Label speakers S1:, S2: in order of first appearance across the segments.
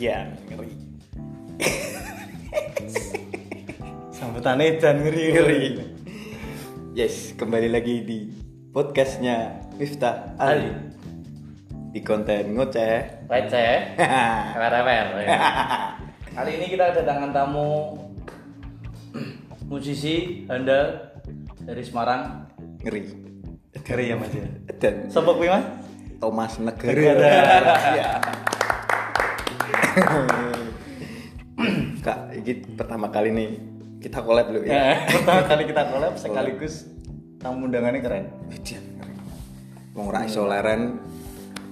S1: Iya, ngeri. Sambutan edan ngeri.
S2: Ngeri. Yes, kembali lagi di podcastnya Miftah Ali
S1: Ali.
S2: di konten ngoceh.
S1: Receh. Rewel. Kali ini kita kedatangan tamu musisi handal dari Semarang.
S2: Ngeri.
S1: Ngeri ya Mas.
S2: Dan
S1: Sopo kuwi Mas?
S2: Thomas
S1: Negara.
S2: Negara. Iya. Kak, ini pertama kali nih kita collab dulu
S1: Eh,
S2: ya.
S1: Pertama kali kita collab sekaligus tamu undangannya keren.
S2: Edan, ngeri. Wong ra iso leren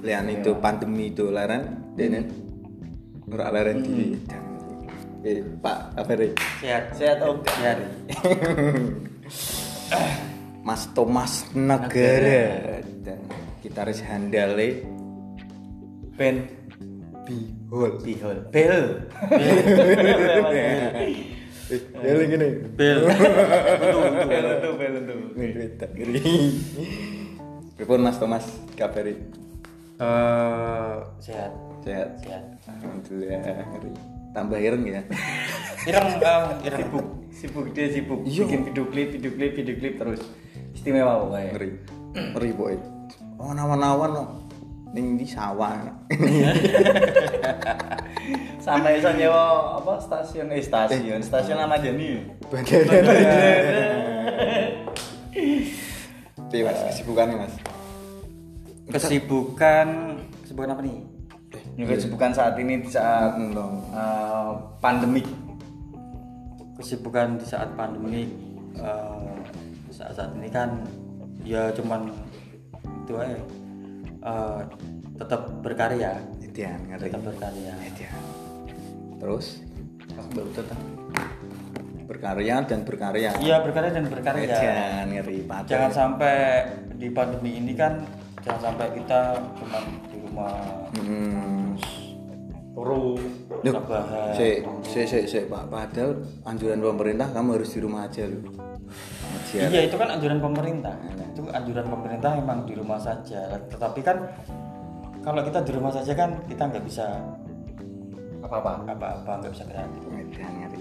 S2: lian itu pandemi itu leren dene ora leren diri. Edan. Eh, Pak, apa nih?
S1: Sehat. Sehat Om. Sehat.
S2: Mas Thomas Negara dan gitaris handale
S1: Ben
S2: Bihol.
S1: Bihol. Bel.
S2: Eh, Bihol gini.
S1: Bel. Bel itu bel itu.
S2: Telepon Mas Thomas kabari.
S3: eh sehat
S2: Sehat.
S3: sehat
S2: Alhamdulillah. Tambah ireng ya.
S3: ireng eh, ireng
S1: Sibuk. Sibuk dia sibuk.
S3: Iya.
S1: Bikin video klip, video klip, video klip terus. Istimewa pokoknya.
S2: Ngeri. Ngeri boy. Oh nawan-nawan no. Ning di sawah.
S1: sampai iso nyewa apa stasiun eh stasiun stasiun lama jeni
S2: Iya mas, kesibukannya mas.
S3: kesibukan kesibukan apa nih
S1: juga
S2: Iya.
S1: kesibukan saat ini di saat
S2: Entong.
S1: eh, pandemik
S3: kesibukan di saat pandemi eh saat saat ini kan ya cuman itu aja eh tetap berkarya
S2: Edian, ngeri.
S3: tetap berkarya
S2: Edian. Terus? Baru tetap. Berkarya dan berkarya.
S3: iya berkarya dan berkarya
S2: Edian, ngeri. Patah.
S3: jangan sampai di pandemi ini kan jangan sampai kita cuma di rumah
S2: Hmm.
S1: turu
S2: Duh,
S3: rebahan
S2: si, si, si, si, Pak. Padahal anjuran pemerintah kamu harus di rumah aja loh. Aja.
S3: Iya itu kan anjuran pemerintah. Itu anjuran pemerintah emang di rumah saja. Tetapi kan kalau kita di rumah saja kan kita nggak bisa
S1: apa apa
S3: apa-apa, nggak bisa gerak.
S2: Edan, ngeri.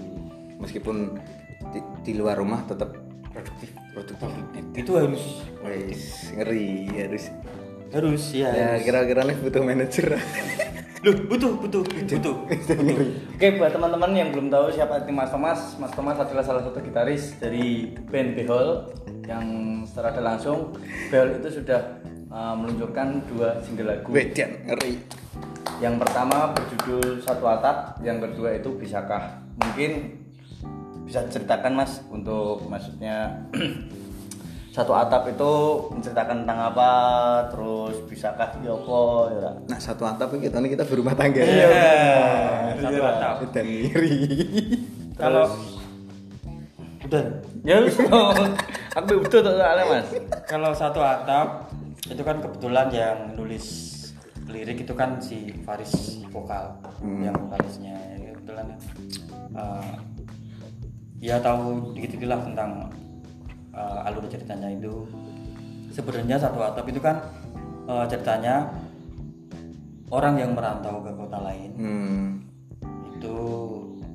S2: Meskipun di, di luar rumah tetap produktif. Produktif.
S3: Itu harus
S2: Wes, ngeri harus.
S3: harus ya.
S2: Ya kira-kira nih butuh manajer.
S3: Loh, butuh butuh butuh.
S1: oke buat teman-teman yang belum tahu siapa itu Mas Thomas Mas Thomas adalah salah satu gitaris dari band Behol yang secara ada langsung Behol itu sudah eh, meluncurkan dua single lagu
S2: Wedan, ngeri.
S1: yang pertama berjudul Satu Atap yang kedua itu Bisakah mungkin bisa ceritakan mas untuk maksudnya Satu Atap itu menceritakan tentang apa terus Bisakah ya apa ya Ra?
S2: Nah satu atap ini kita nih kita berumah tangga. Iya.
S3: Satu atap.
S2: Wedan ngeri.
S3: Kalau udah
S1: ya wis, no. aku butuh tuh soalnya mas
S3: kalau satu atap itu kan kebetulan yang nulis lirik itu kan si Faris vokal yang vokalisnya ya, kebetulan eh, ya tahu dikit lah tentang eh, alur ceritanya itu sebenarnya satu atap itu kan eh, ceritanya orang yang merantau ke kota lain
S2: Hmm.
S3: itu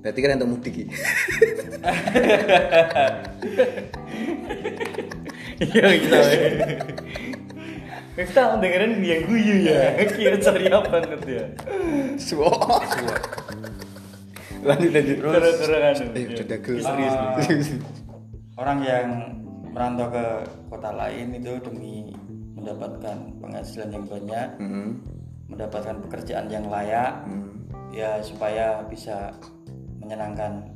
S2: Berarti kan untuk mudik ya.
S1: iya gitu Miftah dengerin yang guyu ya kira ceria banget ya
S2: Suwo. Lanjut lanjut.
S1: terus
S2: Eh, udah dagel.
S3: Serius nih. orang yang merantau ke kota lain itu demi mendapatkan penghasilan yang banyak,
S1: Mm-hmm.
S2: Hmm.
S3: mendapatkan pekerjaan yang layak, ya supaya bisa menyenangkan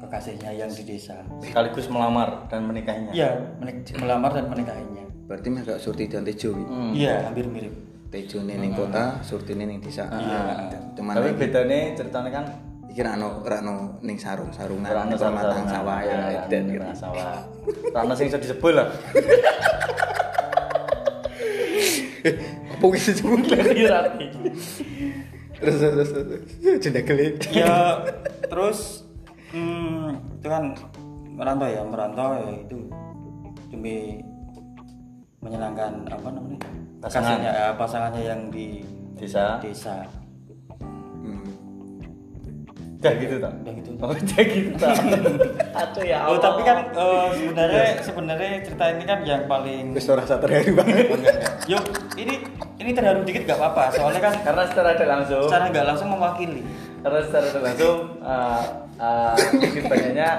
S3: kekasihnya yang di desa.
S1: sekaligus melamar dan menikahinya
S3: Iya, menik- melamar dan menikahinya.
S2: Berarti mah gak surti dan tejo. wi.
S3: Iya, hampir mirip.
S2: Tejo ning kota, surti ning desa. Iya. Cuman
S1: Ah. tapi bedanya ceritanya kan
S2: iki rano rano ning sarung sarungan
S1: Rano
S2: di pematang sawah
S1: Iya,
S2: ya edan
S1: Edan
S2: gitu.
S1: sawah. Rano sing iso disebul lah.
S2: Apa wis disebut?
S1: Iya,
S2: Terus terus terus. Jendak gelit.
S1: Iya.
S3: ya terus hmm, itu kan merantau ya merantau ya itu demi menyenangkan apa namanya
S1: Pasangan.
S3: kasihnya, ya, pasangannya yang di
S1: Desa.
S3: desa
S2: Hmm.
S1: Dah gitu tak?
S3: Dah gitu.
S1: Oh, dah gitu tak. Aduh ya
S3: Oh, tapi kan eh, sebenarnya sebenarnya cerita ini kan yang paling
S2: Wis ora terharu banget.
S3: yuk ini ini terharu dikit gak apa-apa soalnya kan
S1: Karena secara ada langsung,
S3: secara nggak langsung mewakili
S1: karena secara ada langsung, eh, eh, mungkin banyaknya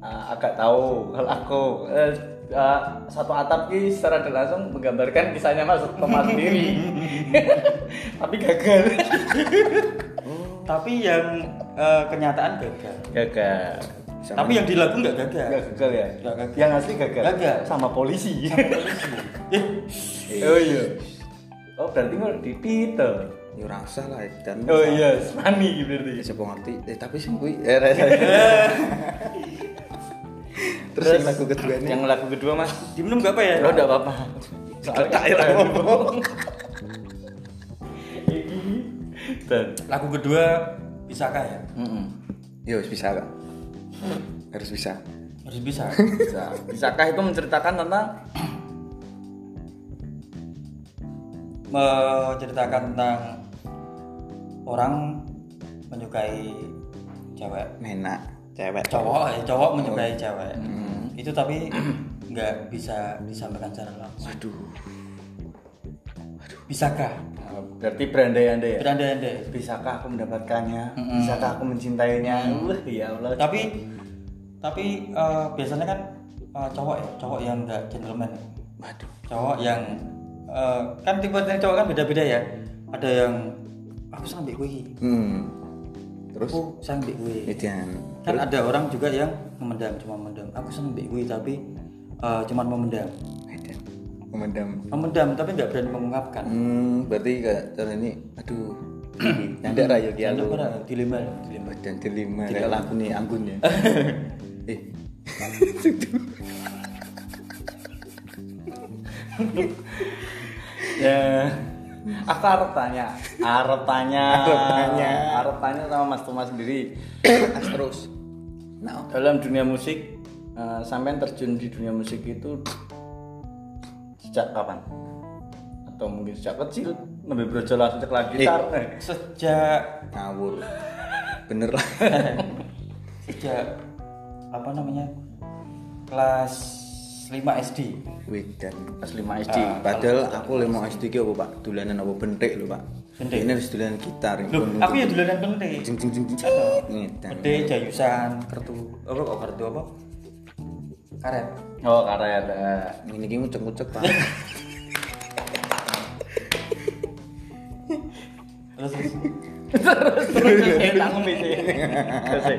S1: eh, agak tahu kalau aku eh, eh, satu atap ini secara ada langsung menggambarkan kisahnya mas Thomas sendiri. tapi gagal.
S3: tapi yang eh, kenyataan gagal
S1: Gagal.
S3: tapi yang di lagu nggak gagal
S1: Nggak gagal ya?
S3: Nggak gagal.
S1: Yang asli gagal.
S3: Gagal.
S1: Sama polisi.
S3: Eh,
S1: oh iya. Oh berarti nggak di Peter.
S2: Yo Ya, ora usah lah dan.
S1: Oh iya, Mani
S2: Ya
S1: berarti.
S2: sapa ngerti. Eh tapi sing kuwi eh, eh, eh. Terus yang lagu kedua ini
S1: Yang lagu kedua mas.
S3: diminum nggak apa ya
S1: Lo enggak Oh, apa-apa. ya.
S2: Tak kira ngomong.
S1: Dan.
S3: lagu kedua bisakah ya
S1: Mm-mm.
S2: Yo wis bisa lah.
S1: Hmm.
S2: Harus bisa.
S3: harus bisa
S1: Bisa. Bisakah itu menceritakan tentang
S3: menceritakan tentang orang menyukai cewek
S2: Menak cewek.
S3: cowok ya cowok menyukai cewek itu tapi nggak bisa disampaikan secara langsung
S2: Aduh.
S3: bisakah
S1: berarti berandai-andai ya?
S3: berandai-andai
S1: Bisakah aku mendapatkannya? Bisakah aku mencintainya? Wah, ya Allah.
S3: tapi tapi eh, biasanya kan eh, cowok ya cowok yang nggak gentleman ya.
S2: Waduh.
S3: cowok yang eh, kan tipe cowok kan beda-beda ya ada yang aku sayang mbek kowe
S2: Hmm. Terus
S1: Oh.
S3: aku sayang mbek kowe
S2: Edian.
S3: kan ada orang juga yang memendam cuma memendam aku sayang mbek kowe tapi eh, cuma memendam
S2: Edian. Memendam.
S3: memendam tapi nggak berani mengungkapkan
S2: Hmm, berarti kayak cara ini aduh. Nyandek ra yo ki
S3: Itu
S2: aku.
S3: pernah dilema dilema
S2: Badan delima lek lagu nih anggun ya. Eh,
S1: Ya. Aku harap tanya, harap tanya,
S2: Harap tanya.
S1: harap tanya sama Mas Thomas sendiri.
S2: terus. Nah,
S1: Dalam dunia musik, eh, sampean terjun di dunia musik itu sejak kapan? Atau mungkin sejak kecil, lebih brojo langsung ceklak gitar.
S3: sejak
S2: eh, ngawur. Bener lah.
S3: sejak apa namanya kelas 5 SD
S2: Wedan.
S1: Pas 5 SD.
S2: Ah, Padahal aku lemo SD ki apa Pak? Dolanan apa bentik lho Pak.
S3: Bentik?
S2: Ini harus dolanan gitar.
S3: Loh, aku ya dulanan penting
S2: jeng jeng jeng jeng.
S1: Oh,
S2: Ngedan.
S3: Pede, jayusan, kertu, apa kok kertu apa? Karet.
S1: Oh, karet. eh.
S2: Ini ki ngucek-ngucek Pak.
S3: Terus terus.
S1: Terus terus terus eh, tak ngombe sih. Terus, eh.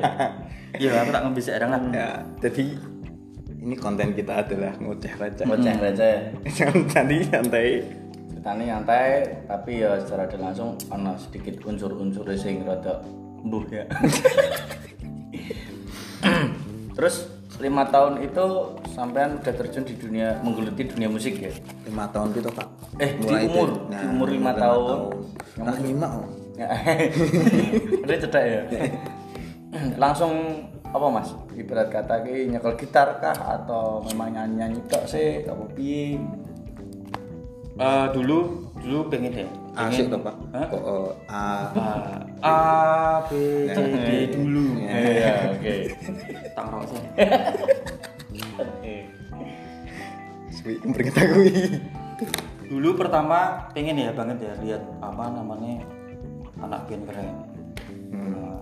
S3: Iya, aku tak ngombe sekarang lah.
S2: Ya, jadi ini konten kita adalah ngoceh raja.
S1: Ngoceh receh.
S2: Santai santai.
S1: Ceritanya nyantai, tapi ya secara tidak langsung ana sedikit unsur-unsur sing rada mbuh ya. Terus lima tahun itu sampean udah terjun di dunia menggeluti dunia musik ya.
S2: 5 tahun gitu Pak.
S1: Eh, di
S2: Mulai
S1: umur,
S2: dari-
S1: di umur lima
S2: lima
S1: tahun.
S2: tahun. Nah, lima oh.
S1: Udah cedak ya. langsung apa mas? Ibarat kata ki nyekel gitar kah atau memang nyanyi nyanyi tok sih apa piye?
S3: Eh, dulu dulu pengen deh.
S2: Asik toh Pak. Kok eh, E, ah,
S3: Eh, A B C D
S1: Eh.
S3: dulu.
S1: Iya, oke.
S3: Tak ngerokok sih.
S2: suwi kemringet aku iki.
S3: Dulu pertama pengen ya banget ya lihat apa namanya anak band keren. Eh,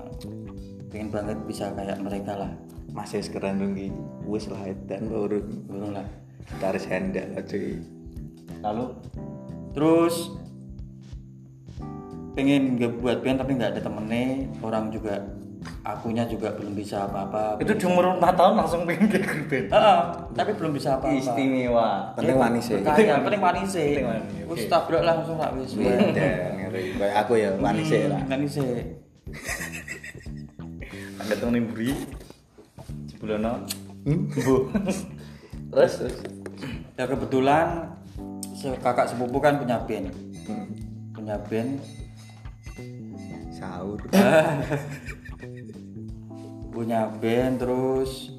S3: pengen banget bisa kayak mereka lah.
S2: Masih sekarang dong iki. Wis lah edan urun.
S3: Belum lah.
S2: Taris hendak lah cuy.
S1: Lalu
S3: terus pengen gak buat band tapi nggak ada temennya orang juga akunya juga belum bisa apa-apa
S1: itu di umur 4 tahun langsung pengen ke grup band.
S3: Heeh, tapi belum bisa apa-apa
S1: Istimewa.
S2: Penting manis ya.
S3: kaya penting manis
S1: Penting
S3: sih
S1: manis, oke. Iya.
S3: wis tabrak langsung lah wis
S2: Wedan, ngeri. Kayak aku ya manis ya lah.
S3: manis sih
S1: Ada temen yang beri sebulan Bu. Terus terus.
S3: ya kebetulan se- kakak sepupu kan punya band
S1: Hmm.
S3: punya band
S2: Sahur.
S3: punya band terus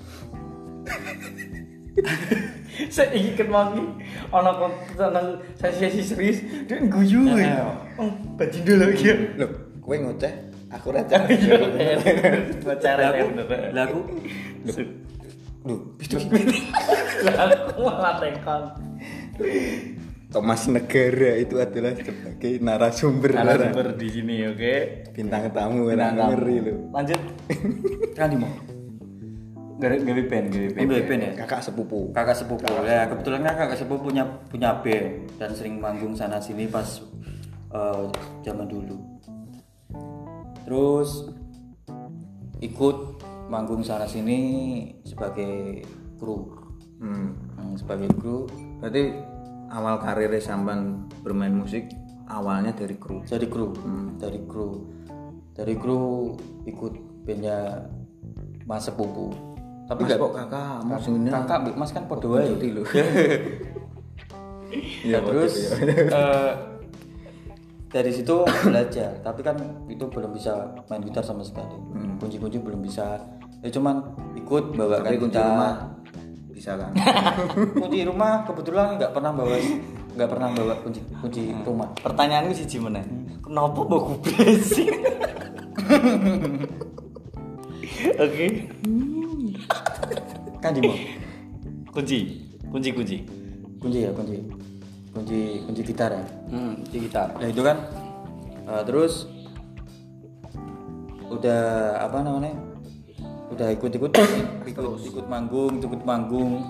S1: Saya ingin kemaki, anak tentang sesi-sesi serius dan guyu.
S3: Iya.
S1: Oh, bajinda lagi ya.
S2: Loh, kowe ngoceh aku rata bener
S1: Pacaran yang bener.
S3: Lah aku
S2: Duh, itu
S1: Aku malah tengkang.
S2: Thomas Negara itu adalah sebagai narasumber,
S1: Narasumber di sini, oke.
S2: bintang tamu orang ngeri lu
S1: Lanjut.
S3: kan di mall.
S1: Gawe gawe band, gawe band.
S3: Ambil band ya.
S2: kakak sepupu
S3: kakak sepupu ya kebetulan kan kakak sepupu punya punya band dan sering manggung sana sini pas eh, zaman dulu terus ikut manggung sana sini sebagai kru
S2: hmm.
S3: Hmm, sebagai kru
S2: berarti awal karirnya samban bermain musik awalnya dari kru
S3: dari kru dari kru dari kru ikut bandnya mas sepupu tapi
S2: mas
S3: nggak
S2: kok kakak mau sini
S3: kakak Mbak mas kan podo aja
S2: lu
S3: Ya, terus eh, dari situ belajar, tapi kan itu belum bisa main gitar sama sekali. Kunci-kunci belum bisa. Ya cuman ikut
S2: Hmm.
S3: bawa
S2: tapi kunci
S3: gitar.
S2: rumah bisa kan
S3: Kunci rumah kebetulan nggak pernah bawa nggak pernah bawa kunci kunci
S2: Hmm.
S3: rumah.
S1: Pertanyaanku siji meneh. Kenapa mbok gubris? Oke.
S3: Kan di mall.
S1: Kunci. Kunci kunci.
S3: kunci ya kunci kunci kunci gitar ya.
S1: Hmm, kunci gitar.
S3: Nah itu kan eh, terus udah apa namanya udah ikut-ikut ikut ikut manggung ikut manggung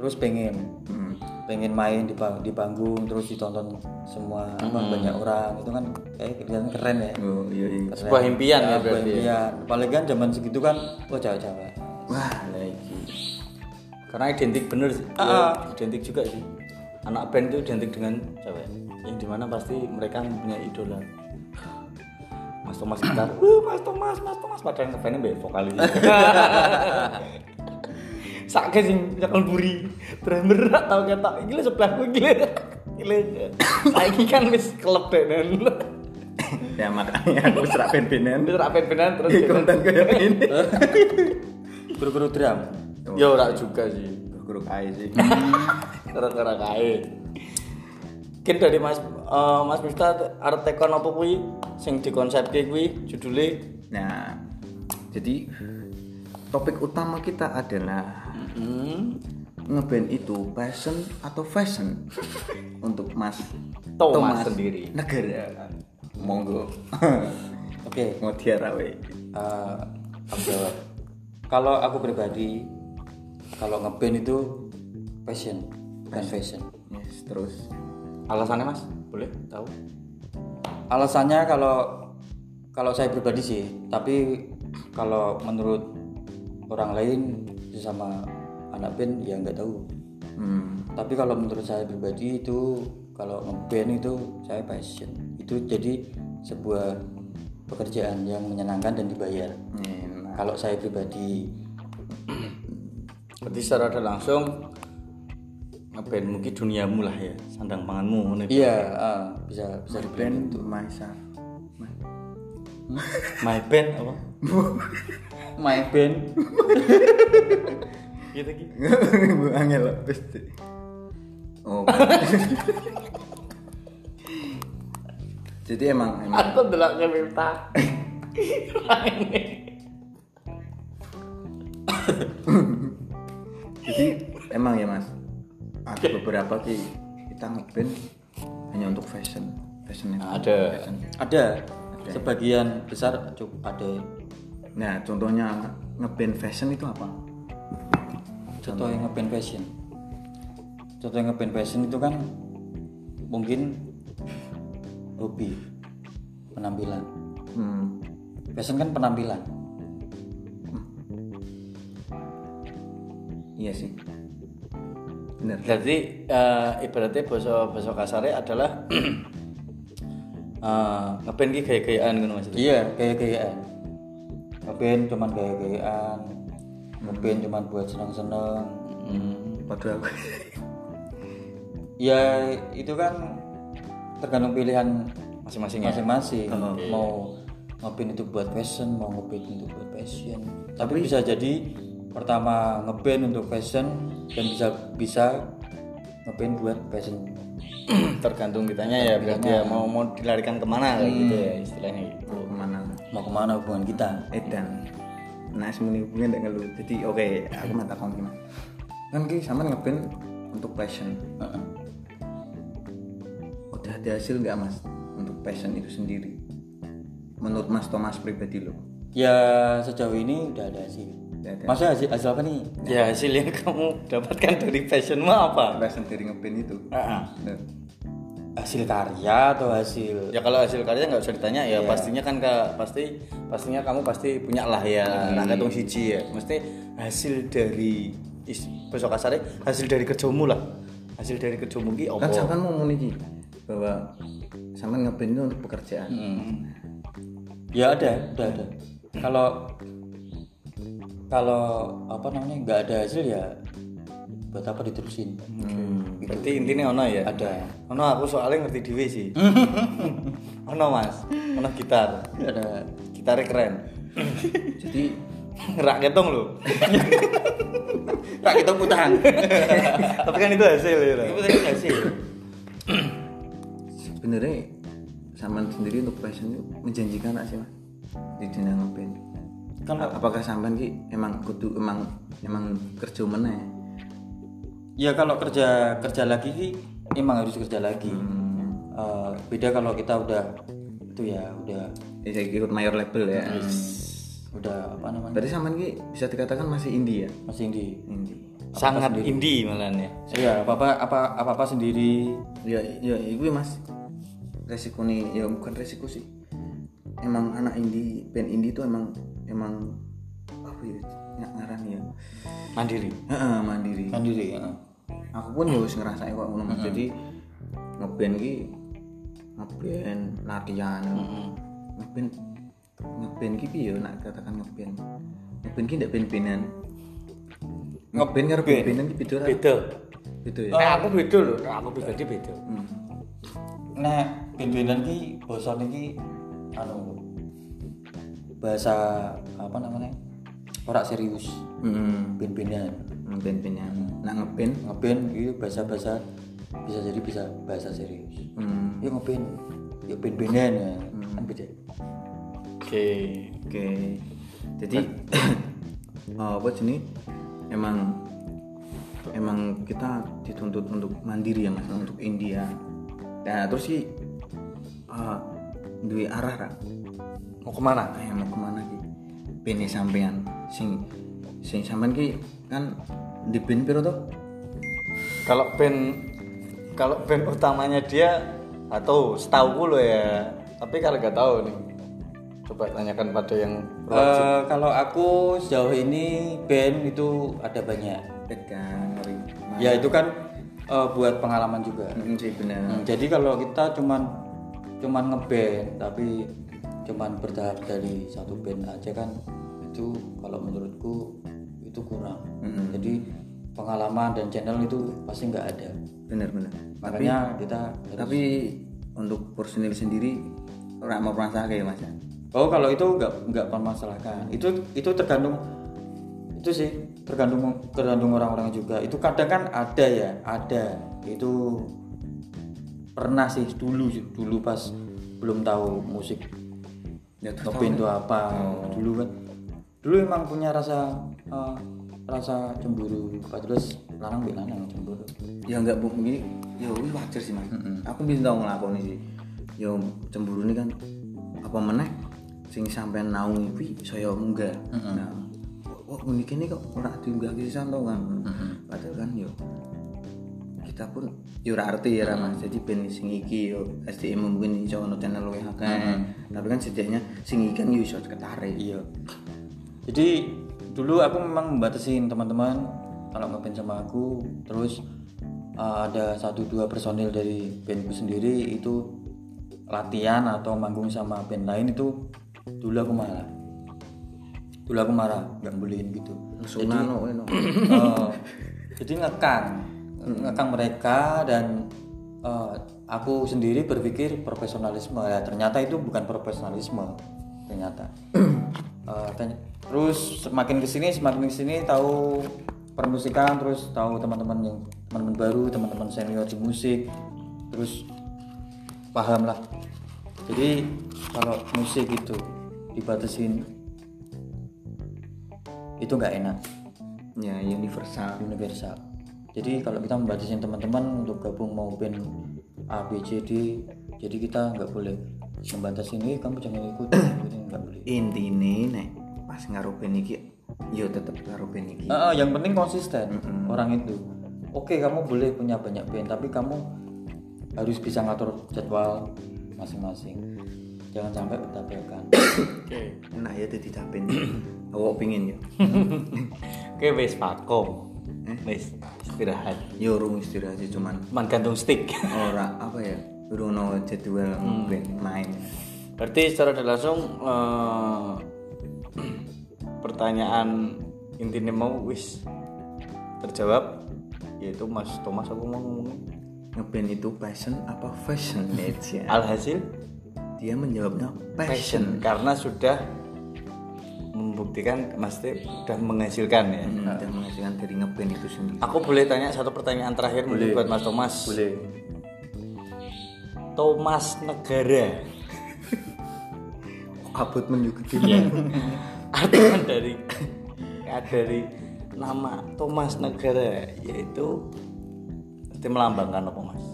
S3: terus pengen
S1: Hmm.
S3: pengen main di pang- di panggung terus ditonton semua apa,
S1: Hmm.
S3: banyak orang itu kan kayak kelihatan keren ya
S2: oh iya iya
S3: Keren.
S1: Sebuah impian ya
S3: sebuah
S1: berarti ya.
S3: impian. paling kan zaman segitu kan oh jawa-jawa
S2: wah lagi
S1: Karena identik bener sih. Iya,
S3: Ah, ah.
S1: Identik juga sih. Anak band itu identik dengan cewek. Yang dimana pasti mereka punya idola. Mas Thomas gitar. Uh, Mas Thomas, Mas Thomas padahal ngefansnya mbek vokalis. Sakit sing nyekel buri. Drummer tau ketok iki lho sebelahku iki lho. Iki lho. Saiki kan wis klub denen.
S2: ya makanya aku serak pen-penan
S1: Wis ra pen-penan terus
S2: di konten kayak ini
S3: guru-guru drum
S1: Ya ora juga sih.
S2: kru kai sih
S1: gara-gara kae. Mungkin dari Mas eh, Mas Miftah arep tekon apa kuwi sing dikonsepke kuwi judule
S2: nah jadi topik utama kita adalah ngeband itu passion atau fashion untuk Mas
S1: Thomas sendiri.
S2: negara monggo
S3: oke
S2: mau diarawe
S3: Eh, aku jawab. Kalau aku pribadi, kalau ngeband itu passion, bukan fashion.
S2: yes terus
S1: alasannya Mas? Boleh tahu?
S3: Alasannya kalau kalau saya pribadi sih, tapi kalau menurut orang lain sesama anak band ya nggak tahu.
S2: hmm.
S3: Tapi kalau menurut saya pribadi itu kalau ngeband itu saya passion. Itu jadi sebuah pekerjaan yang menyenangkan dan dibayar.
S2: enak.
S3: Kalau saya pribadi
S1: Berarti secara ada langsung ngeband mungkin duniamu lah ya, sandang panganmu ngono. ya? iki.
S3: Iya, ah, bisa bisa dibilang. gitu.
S2: band to myself
S1: My band apa?
S3: My band.
S1: Gitu iki.
S2: Bu angel loh, pasti oh jadi emang emang
S1: Aku ndelokne Miftah.
S2: jadi emang ya mas ada beberapa ki kita ngeband hanya untuk fashion fashion itu
S1: Ada.
S2: fashion.
S3: Ada sebagian besar cukup ada.
S2: nah contohnya ngeband fashion itu apa
S3: Contoh yang ngeband fashion. Contoh yang ngeband fashion itu kan mungkin hobi penampilan.
S2: hmm.
S3: Fashion kan penampilan.
S2: iya sih bener
S1: Berarti eh, ibaratnya bahasa bahasa kasarnya adalah eh, ngeband ki gaya-gayaan ngono Mas.
S3: Iya, gaya-gayaan. Ngeband cuman gaya-gayaan. Ngeband cuman buat seneng-seneng.
S1: Hmm.
S2: padahal aku
S3: Ya itu kan tergantung pilihan
S1: Masing-masing ya.
S3: masing-masing mau ngeband itu buat fashion mau ngeband itu buat fashion tapi bisa jadi pertama ngeband untuk fashion dan bisa bisa ngapain buat passion
S1: tergantung kitanya ya berarti ya mau mau dilarikan kemana kayak gitu ya istilahnya gitu
S2: kemana
S3: mau kemana hubungan kita
S2: Edan nah semuanya hubungan dengan lu jadi oke aku minta komplimen kan ki sama ngeband untuk passion udah ada hasil nggak mas untuk passion itu sendiri menurut mas Thomas pribadi lo
S3: ya sejauh ini udah ada hasil
S2: Udah ada.
S3: masa hasil, hasil apa nih
S1: ya hasil yang kamu dapatkan dari passionmu apa
S2: passion dari ngeband itu Nah,
S3: hasil karya atau hasil
S1: ya kalau hasil karya nggak usah ditanya ya pastinya kan Kak, pasti pastinya kamu pasti punya lah ya nah ketung siji ya mesti hasil dari is, besok kasarnya hasil dari kerjamu lah hasil dari kerjamu ki
S2: kan
S1: opo
S2: sampean mau ngomong ini bahwa sampean ngeband itu untuk pekerjaan
S3: Ya ada, udah ada. Kalau kalau apa namanya nggak ada hasil ya buat apa diterusin?
S1: berarti intinya ono ya
S3: Ada.
S1: ono aku soalnya ngerti dhewe sih ono mas ono gitar
S3: Ada.
S1: gitarnya keren
S2: jadi
S1: rak ketong lho rak ketong putahan tapi kan itu hasil ya itu hasil
S2: sebenarnya sampean sendiri untuk passion itu menjanjikan nggak sih mas di dunia ngeband
S1: Kan
S3: Kalau-
S2: A- apakah sampean ki emang kudu emang emang kerja mana ya
S3: Ya kalau kerja kerja lagi sih emang harus kerja lagi. Eh, beda kalau kita udah itu ya udah
S2: Ya, saya ikut mayor label ya
S3: udah apa namanya
S2: berarti sampean ki bisa dikatakan masih indie ya
S3: masih di
S1: sangat indie malahan ya
S3: Iya apa apa apa apa apa sendiri
S2: ya ya itu mas resiko nih ya bukan resiko sih emang anak indie band indie itu emang emang apa ya nggak ngarang ya
S1: mandiri
S2: Heeh, mandiri
S3: sendiri. ya.
S2: aku pun ya wis ngerasain kok ngono Mas. Jadi ngeband ki ngeband latihan. Ngeband ngeband ki piye ya nak katakan ngeband. Ngeband ki ndak band-bandan. Ngeband karo band-bandan ki beda lah.
S1: beda
S2: Beda ya.
S1: nah aku beda loh nah, aku pribadi beda
S3: Nah, band-bandan ki bosan iki anu bahasa apa namanya? Ora serius.
S2: Heeh.
S3: Band-bandan.
S2: Band-bandan. Nak ngeband
S3: Ngeband gitu bahasa-bahasa bisa jadi bisa bahasa serius.
S2: hmm,
S3: Ya ngeband, ya band-bandan ya. Kan beda.
S1: oke
S2: oke. Jadi oh, apa sini emang emang kita dituntut untuk mandiri ya mas untuk India nah terus sih eh duwe arah Ra.
S1: mau kemana
S2: kayak mau kemana ki bene sampean sing sing sampean ki kan di band piro to
S1: kalau band kalau band utamanya dia atau setahu lo ya tapi kalau nggak tahu nih coba tanyakan pada yang
S3: Eh, kalau aku sejauh ini band itu ada banyak.
S2: pegang ori
S1: Iya.
S3: Ya itu kan eh, buat pengalaman juga.
S2: Mm, sih bener
S3: Hmm, jadi kalau kita cuman cuman ngeband tapi cuman bertahap dari satu band aja kan itu kalau menurutku itu kurang. Jadi pengalaman dan channel itu pasti nggak ada.
S2: bener bener
S3: Makanya kita
S2: tapi untuk personil sendiri ora mau merasa kayak mas ya
S3: oh kalau itu nggak nggak permasalahkan. Itu itu tergantung itu sih tergantung tergantung orang-orang juga. Itu kadang kan ada ya ada itu pernah sih dulu dulu pas belum tahu musik
S2: ya terus
S3: ngeband itu apa dulu kan dulu emang punya rasa eh, rasa cemburu pak terus larang bi lanang cemburu
S2: ya nggak bu gini ya wih wajar sih mas aku bisa tau ngelakoni sih ya cemburu ini kan apa meneh sing sampean naungi kuwi saya munggah nah kok unik ini kok ora diunggah ke sisan tau kan padahal kan yo kita pun yo ora arti ya Ra, mas jadi ben sing iki yo SDM mungkin iso ono channel luwih akeh tapi kan setidaknya sing iki kan yo iso ketarik
S3: iya jadi dulu aku memang membatasin teman-teman kalau ngeband sama aku terus eh, ada satu dua personil dari bandku sendiri itu latihan atau manggung sama band lain itu dulu aku marah dulu aku marah nggak bolehin gitu
S2: sunan no, no.
S3: Eh, jadi ngekang ngekang mereka dan eh, aku sendiri berpikir profesionalisme ya ternyata itu bukan profesionalisme ternyata Eh, ten- terus semakin kesini semakin kesini tahu permusikan terus tahu teman-teman yang teman-teman baru teman-teman senior di musik terus paham lah jadi kalau musik itu dibatasin itu nggak enak
S2: ya universal
S3: universal jadi kalau kita membatasin teman-teman untuk gabung mau band A B C D jadi kita nggak boleh membatasi ini kamu jangan ikut jangan ikut," nggak boleh
S2: intine nek pas karo band iki yo tetep karo band iki
S3: Ah, ah, yang penting konsisten orang itu. Oke, kamu boleh punya banyak band, tapi kamu harus bisa ngatur jadwal masing-masing. Jangan sampai bertabrakan.
S2: enak ya dadi capen awak pingin yo
S1: Hmm. Oke wis pakom. Wis istirahat.
S2: yo urung istirahat sih, cuman
S1: Man gantung stick.
S2: ora apa ya urung no jadwal
S1: Hmm.
S2: band main
S1: Berarti secara tidak langsung eh, pertanyaan intinya mau wis terjawab yaitu Mas Thomas aku mau ngomongin
S2: ngeband itu passion apa fashion ya
S1: alhasil
S2: dia menjawabnya
S1: passion
S2: passion
S1: karena sudah membuktikan Mas T sudah menghasilkan ya.
S2: Hmm, dan menghasilkan dari ngeband itu sendiri
S1: Aku boleh tanya satu pertanyaan terakhir mungkin buat Mas Thomas. Boleh. Thomas Negara.
S2: abot menuju gede
S1: Iya. Arti dari dari nama Thomas Negara yaitu itu melambangkan apa Mas?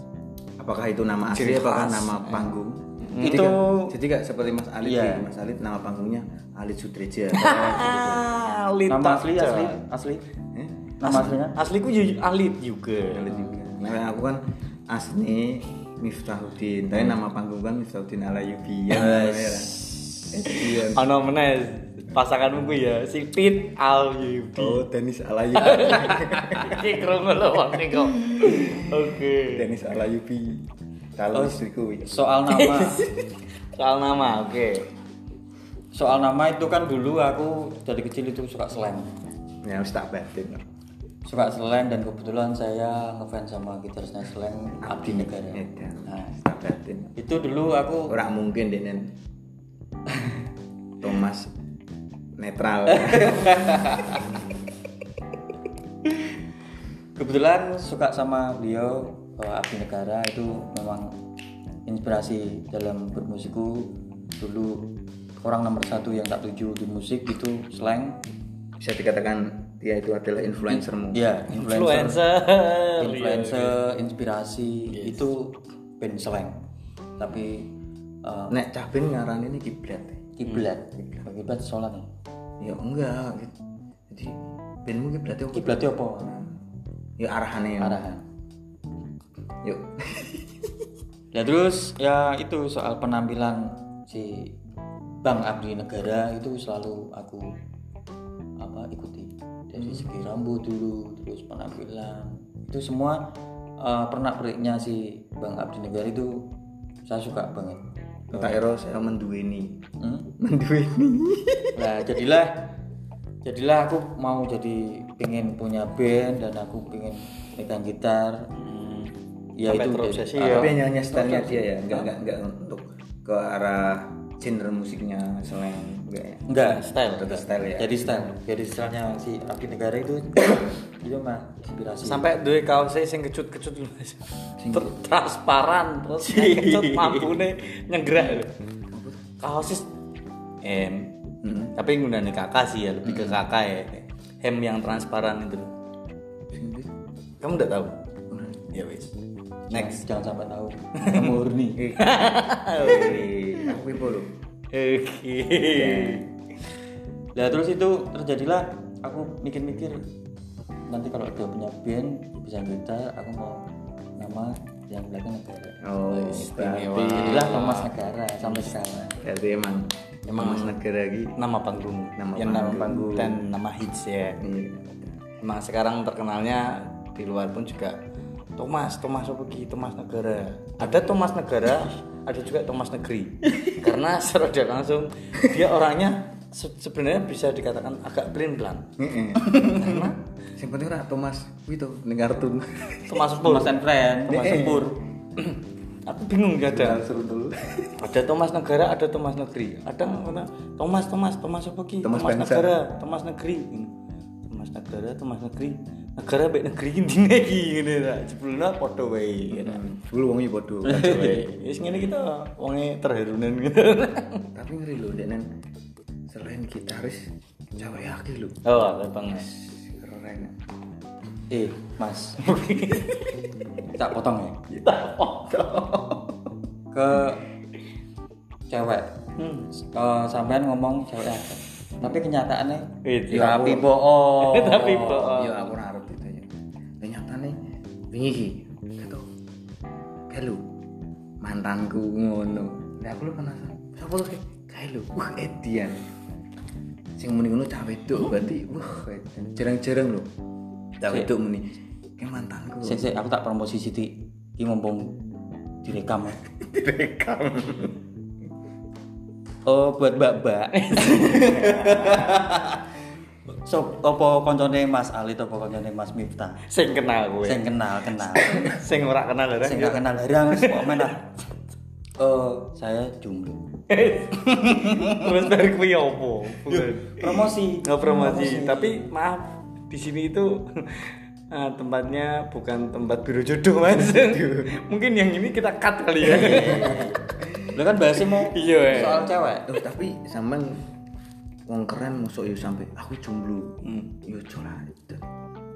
S2: apakah itu nama asli
S1: Ciri
S2: apakah
S1: khas.
S2: nama panggung
S3: Hmm.
S2: Jadi
S3: Itu-
S2: nggak- jadi gak seperti Mas Alit
S3: Iya.
S2: ya. Mas Alit nama panggungnya Alit Sutreja
S1: Ah, Alit.
S3: Nama asli asli asli.
S2: Eh,
S3: Nama aslinya?
S1: Asliku ju- Alit juga.
S2: Alit juga nah, aku kan asli Miftahuddin tapi nama panggung kan Miftahuddin Alayubi ya Yes. iya.
S1: Ono meneh pasanganmu ku ya si Pit Al Yudi.
S2: Oh, Dennis Alayubi
S1: Iki krungu lho wong niku. Oke.
S2: Dennis Alayubi calon istriku iya.
S3: Soal nama,
S1: Soal nama, oke.
S3: soal nama itu kan dulu aku dari kecil itu suka slam,
S2: ya harus tak batin
S3: suka slam dan kebetulan saya ngefans sama gitarisnya slam Abdi
S2: Ya.
S3: Negara.
S2: Edan.
S3: Nah,
S2: tak batin
S3: itu dulu aku
S2: Orang mungkin Denen Thomas netral.
S3: kebetulan suka sama beliau eh, Abdi Negara itu memang inspirasi dalam bermusikku dulu orang nomor satu yang tak tuju di musik itu slang
S2: Bisa dikatakan dia itu adalah influencermu.
S3: ya influencer
S1: Influencer.
S3: influencer inspirasi itu band slang tapi eh,
S2: Nek Cabin ngaran ini kiblat. ya?
S3: kiblat kiblat sholat ya
S2: Ya enggak. gitu. Jadi bandmu kiblat itu
S3: kiblat itu apa
S2: Ya arahannya. Ya.
S3: arahan
S2: Yuk.
S3: Ya terus ya itu soal penampilan si Bang Abdi Negara itu selalu aku apa ikuti dari segi rambut dulu terus penampilan itu semua eh, pernak periknya si Bang Abdi Negara itu saya suka banget.
S2: Tak ero saya menduweni.
S3: Hmm?
S2: Menduweni.
S3: Nah jadilah jadilah aku mau jadi pengen punya band dan aku pengen megang gitar. Ya itu terobsesi
S2: Tapi hanya hanya stylenya dia ya, enggak enggak enggak untuk ke arah genre musiknya selain enggak ya.
S3: Enggak, style.
S2: Tetap style ya.
S3: Jadi style. Jadi stylenya si Abdi Negara itu itu mah inspirasi.
S1: sampai duwe kaosnya sing kecut-kecut lho Mas. Ter- transparan terus sing kecut mampune nyenggerak lho. Kaosnya s- hem. Tapi nggunane kakak sih ya, lebih ke kakak ya. Hem yang transparan itu. lho. Kamu enggak tahu? Ya wis. Next.
S3: Next, jangan sampai tahu. Murni.
S2: Aku ibu lho.
S1: Oke.
S3: Iya. Nah terus itu terjadilah aku mikir-mikir nanti kalau udah punya band bisa gitar aku mau nama yang belakang negara.
S2: Oh,
S3: Tapi jadilah Thomas Negara sampai sekarang.
S2: berarti emang emang Mas Negara lagi
S1: Nama panggung.
S2: Nama
S1: yang nama panggung
S2: panggung.
S1: dan nama hits ya. Emang Nah, sekarang terkenalnya di luar pun juga Thomas, Thomas apa ki? Thomas Negara. Ada Thomas Negara, ada juga Thomas Negeri. Karena secara tidak langsung dia orangnya se- sebenarnya bisa dikatakan agak pelin-pelan.
S2: Heeh.
S1: Karena
S2: Sing penting ora Thomas kuwi to ning kartun.
S1: Thomas Sepur.
S3: Thomas and Friend, Thomas Sepur. Nah,
S1: Aku bingung gak ada. Ada Thomas Negara, ada Thomas Negeri. Ada yang kata, Thomas, Thomas, Thomas apa ki?
S2: Thomas Spencer.
S1: Negara, Thomas Negeri. Thomas Mas Negara atau Mas Negeri negara baik negeri ini lagi ini lah sebelumnya foto baik gitu
S2: Dulu wong iki padha.
S3: Iya,
S1: Wis ngene kita wonge terharunan gitu.
S2: Tapi ngeri lho Dek Nen. Selain gitaris, cewek akeh lho.
S1: Oh, Bang.
S2: Keren.
S3: eh mas tak potong ya ke cewek Eh, sampean ngomong cewek akeh. tapi kenyataannya
S1: Itu.
S3: tapi bohong
S1: Tapi kok
S2: ya Oh, aku ora arep ditanya. Ya nyatane wingi iki kata Kelu mantanku ngono. Lah aku lu penasaran. Sapa tuh Kelu? Wah, Edian. Sing muni ngono cah wedok berarti wah Edian. jarang-jarang lho. Cah wedok muni ke mantanku.
S3: Sik, sik, aku tak promosi Siti. Ki mumpung direkam.
S2: Direkam.
S3: Oh, buat Mbak-mbak. so, apa koncone Mas Ali apa koncone Mas Miftah?
S1: sing kenal kowe.
S3: Sing kenal, kenal.
S1: Sing ora kenal ora.
S3: Sing gak kenal larang wis komen lah. iya, Eh, saya jomblo.
S1: Terus dari kuwi opo?
S3: Promosi.
S1: Nggak Oh, promosi, tapi maaf di sini itu eh, tempatnya bukan tempat biro jodoh mas mungkin yang ini kita cut kali ya
S3: Lu kan bahasnya mau
S1: Iya, eh.
S3: soal cewek.
S2: Loh, tapi sampean wong keren mosok yo sampe aku jomblo.
S1: Hmm.
S2: Yo jolah.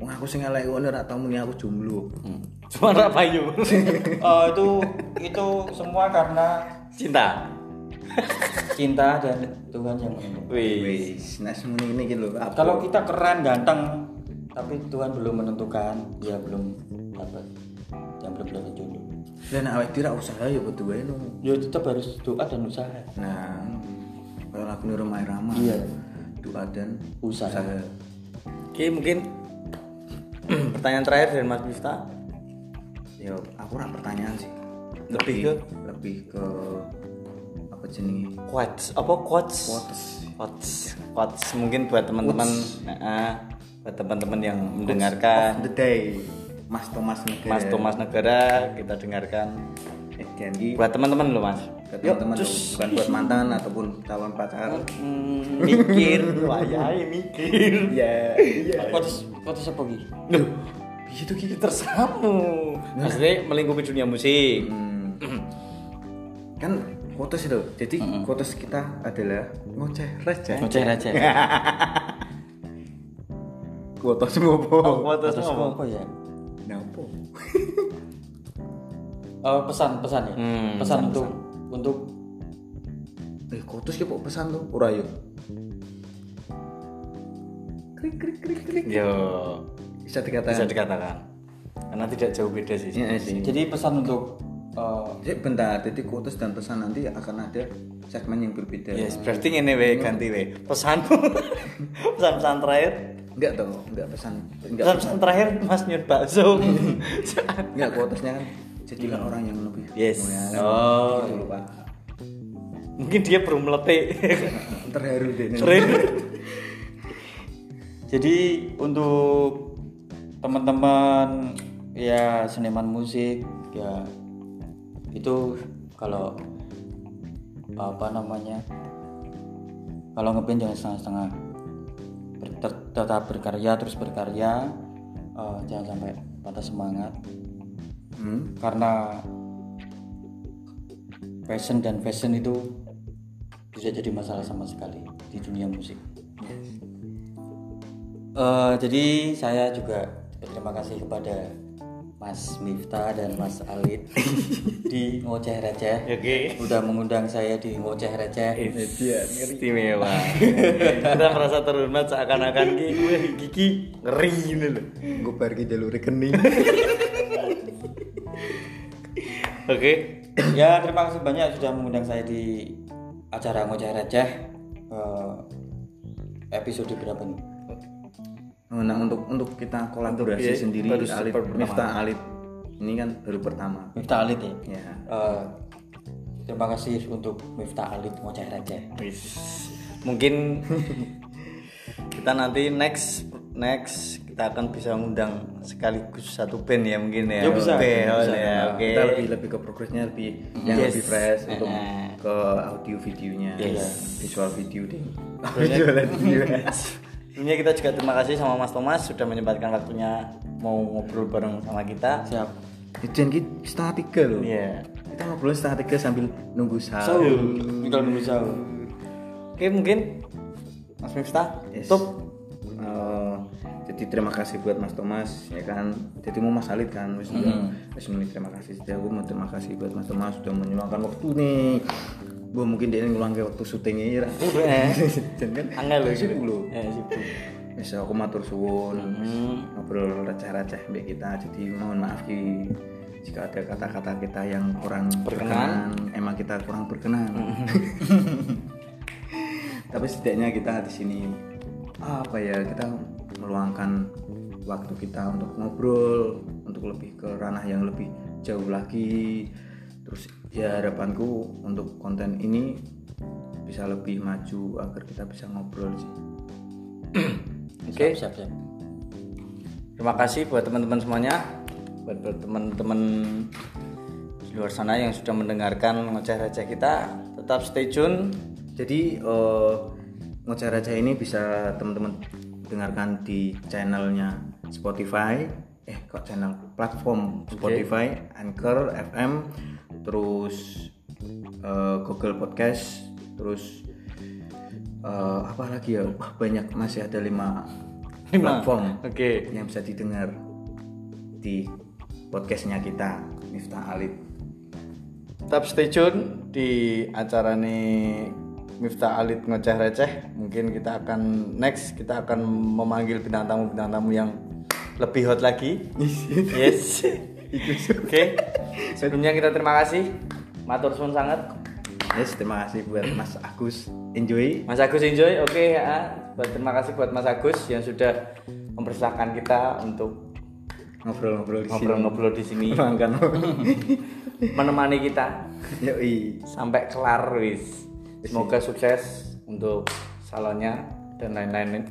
S2: Wong aku sing elek ngono ora tau muni aku jomblo.
S1: Hmm. cuma rak payu
S3: Oh, itu itu semua karena
S1: cinta
S3: cinta dan Tuhan yang menentukan.
S1: wih
S2: Wis, nek semono ini iki lho. apa-
S3: Kalau kita keren, ganteng, tapi Tuhan belum menentukan, ya belum dapat, yang belum dapat jodoh.
S2: Lah nek awake dhewe ra usaha ya kudu wae no.
S3: Ya tetap harus doa dan usaha.
S2: Nah, kalau lagu ini rumah irama.
S3: Iya.
S2: Doa dan
S3: Usaha.
S1: oke mungkin pertanyaan terakhir dari Mas Miftah
S2: Ya, aku ora pertanyaan sih.
S1: Lebih ke-
S2: lebih ke apa jenenge?
S1: quotes apa quotes quotes quotes mungkin buat teman-teman eh, buat teman-teman yang mendengarkan
S2: The day Mas Thomas Negara.
S1: Eh. Mas Thomas Negara kita dengarkan
S2: Eh, Genki.
S1: buat teman-teman loh mas
S2: Ke teman-teman loh, bukan buat mantan ataupun calon pacar.
S1: Hmm, mikir wayai mikir
S2: Iya.
S3: Kotis, kotis apa gini?
S1: Loh, piye tuh kita tersamu maksudnya melingkupi dunia musik
S2: Kan kotes itu. Jadi kotes kita adalah ngoceh ya? receh.
S3: Ngoceh aja.
S2: Kotes ngopo?
S1: quotes
S3: Kotis apa,
S1: apa?
S3: apa ya?
S2: Napa?
S3: Eh, pesan, pesan ya.
S1: Hmm,
S3: pesan untuk untuk
S2: Eh, kotes ki kok pesan tuh? Ora yo.
S1: yo
S2: Bisa
S1: bisa
S2: dikatakan.
S1: dikatakan karena tidak jauh beda sih
S2: Iya sih.
S3: jadi pesan untuk eh,
S2: Jadi bentar, titik kotes dan pesan nanti akan ada segmen yang berbeda.
S3: Iya.
S1: Yes, berarti ini we ganti we. Pesanmu. Pesan-pesan terakhir.
S2: Enggak toh, enggak pesan, enggak
S1: Pesan-pesan terakhir Mas Nyut Bakso.
S2: enggak kuotesnya kan jadilah orang yang lebih.
S1: Hmm. Yes.
S2: mulia.
S1: Oh.
S2: Gitu loh, Pak.
S1: Mungkin dia perlu meletik.
S2: Terharu deh. ini.
S3: Jadi untuk teman-teman ya seniman musik ya itu kalau apa namanya kalau ngeband jangan setengah-setengah Ber- tet- tetap berkarya terus berkarya Eh, jangan sampai patah semangat
S2: Hmm.
S3: karena fashion dan fashion itu bisa jadi masalah sama sekali di dunia musik. Eh, jadi saya juga berterima kasih kepada Mas Miftah dan Mas Alit di Ngoceh Receh
S1: Oke.
S3: udah mengundang saya di Ngoceh
S2: Ya.
S3: Receh.
S1: ya, Istimewa. Kita merasa terhormat seakan-akan ki gue gigi ngeri ini loh.
S2: Gue pergi jalur rekening.
S1: Oke.
S3: ya terima kasih banyak sudah mengundang saya di acara Ngoceh Receh Eh, episode berapa nih?
S2: Nah, untuk untuk kita kolaborasi
S1: Untuk- ya,
S2: sendiri
S1: baru
S2: Alif
S1: super pertama.
S2: Miftah Alif ini kan baru pertama.
S3: Miftah Alit ya.
S2: Ya.
S3: Eh, terima kasih untuk Miftah Alit Ngoceh Receh.
S1: Wis. Mungkin kita nanti next next kita akan bisa ngundang sekaligus satu band ya mungkin ya.
S3: Ya, bisa.
S1: Oke,
S2: Bisa,
S1: ya,
S2: nah,
S1: oke.
S2: Kita lebih lebih ke progresnya lebih yang
S1: Yes.
S2: lebih fresh untuk
S1: Eh.
S2: ke audio videonya,
S1: Yes.
S2: ya, visual video deh. Visual video.
S1: Sebelumnya kita juga terima kasih sama Mas Thomas sudah menyempatkan waktunya mau ngobrol bareng sama kita.
S4: siap
S2: Jadian kita setengah tiga loh.
S1: Iya.
S2: Kita ngobrol setengah tiga sambil nunggu
S4: so
S2: sahur.
S4: kita nunggu jauh
S1: Oke, mungkin Mas Miftah
S2: Yes.
S1: tutup.
S2: Eh, jadi terima kasih buat Mas Thomas ya kan. Jadi mau Mas Halid kan wis
S1: Mm-hmm.
S2: wis muni terima kasih. Jadi aku mau terima kasih buat Mas Thomas sudah menyumbangkan waktu nih. Gua mungkin dia ngeluangke waktu syutingnya ya. Ra. Jan kan
S1: Iya. Angel lho,
S2: sibuk lho.
S1: Eh, sibuk.
S2: Wis aku matur suwun ngobrol receh-receh mbek kita. Jadi mohon maaf ki jika ada kata-kata kita yang kurang berkenan, emang kita kurang berkenan. Tapi setidaknya kita di sini apa ya kita meluangkan waktu kita untuk ngobrol, untuk lebih ke ranah yang lebih jauh lagi. Terus ya harapanku untuk konten ini bisa lebih maju agar kita bisa ngobrol sih.
S1: Oke.
S4: siap siap
S1: Terima kasih buat teman-teman semuanya, buat buat teman-teman di luar sana yang sudah mendengarkan ngoceh receh kita. Tetap stay tune.
S2: Jadi eh ngoceh receh ini bisa teman-teman dengarkan di channelnya Spotify, eh kok channel platform Spotify, Anchor FM, terus eh, Google Podcast, terus eh, apa lagi ya? Wah, banyak masih ada lima, platform
S1: Oke.
S2: yang bisa didengar di podcastnya kita Miftah Alid.
S1: Tetap stay tune di acara nih Miftah Alit ngoceh receh. Mungkin kita akan next kita akan memanggil bintang tamu bintang tamu yang lebih hot lagi. Yes. Oke. Sebelumnya kita terima kasih. Matur suwun sangat.
S2: Yes, terima kasih buat Mas Agus. Enjoy.
S1: Mas Agus enjoy. Oke, ya. Buat- Terima kasih buat Mas Agus yang sudah mempersilahkan kita untuk
S2: ngobrol-ngobrol di sini.
S1: ngobrol-ngobrol di sini,
S2: Makan.
S1: menemani kita
S2: Yoi.
S1: sampai kelar wis. Semoga sukses untuk salonnya dan lain-lain.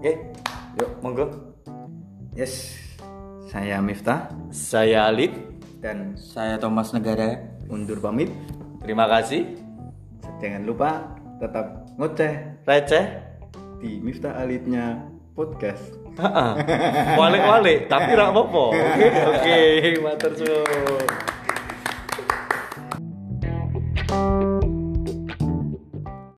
S1: Oke, yuk monggo.
S2: Yes. Saya Miftah
S1: Saya Alif.
S2: dan
S4: saya Thomas Negara
S2: undur pamit.
S1: Terima kasih.
S2: Jangan lupa tetap ngoceh
S1: Receh.
S2: di Miftah Alitnya podcast.
S1: Wale-wale, tapi rak apa Oke, oke, matur suwun.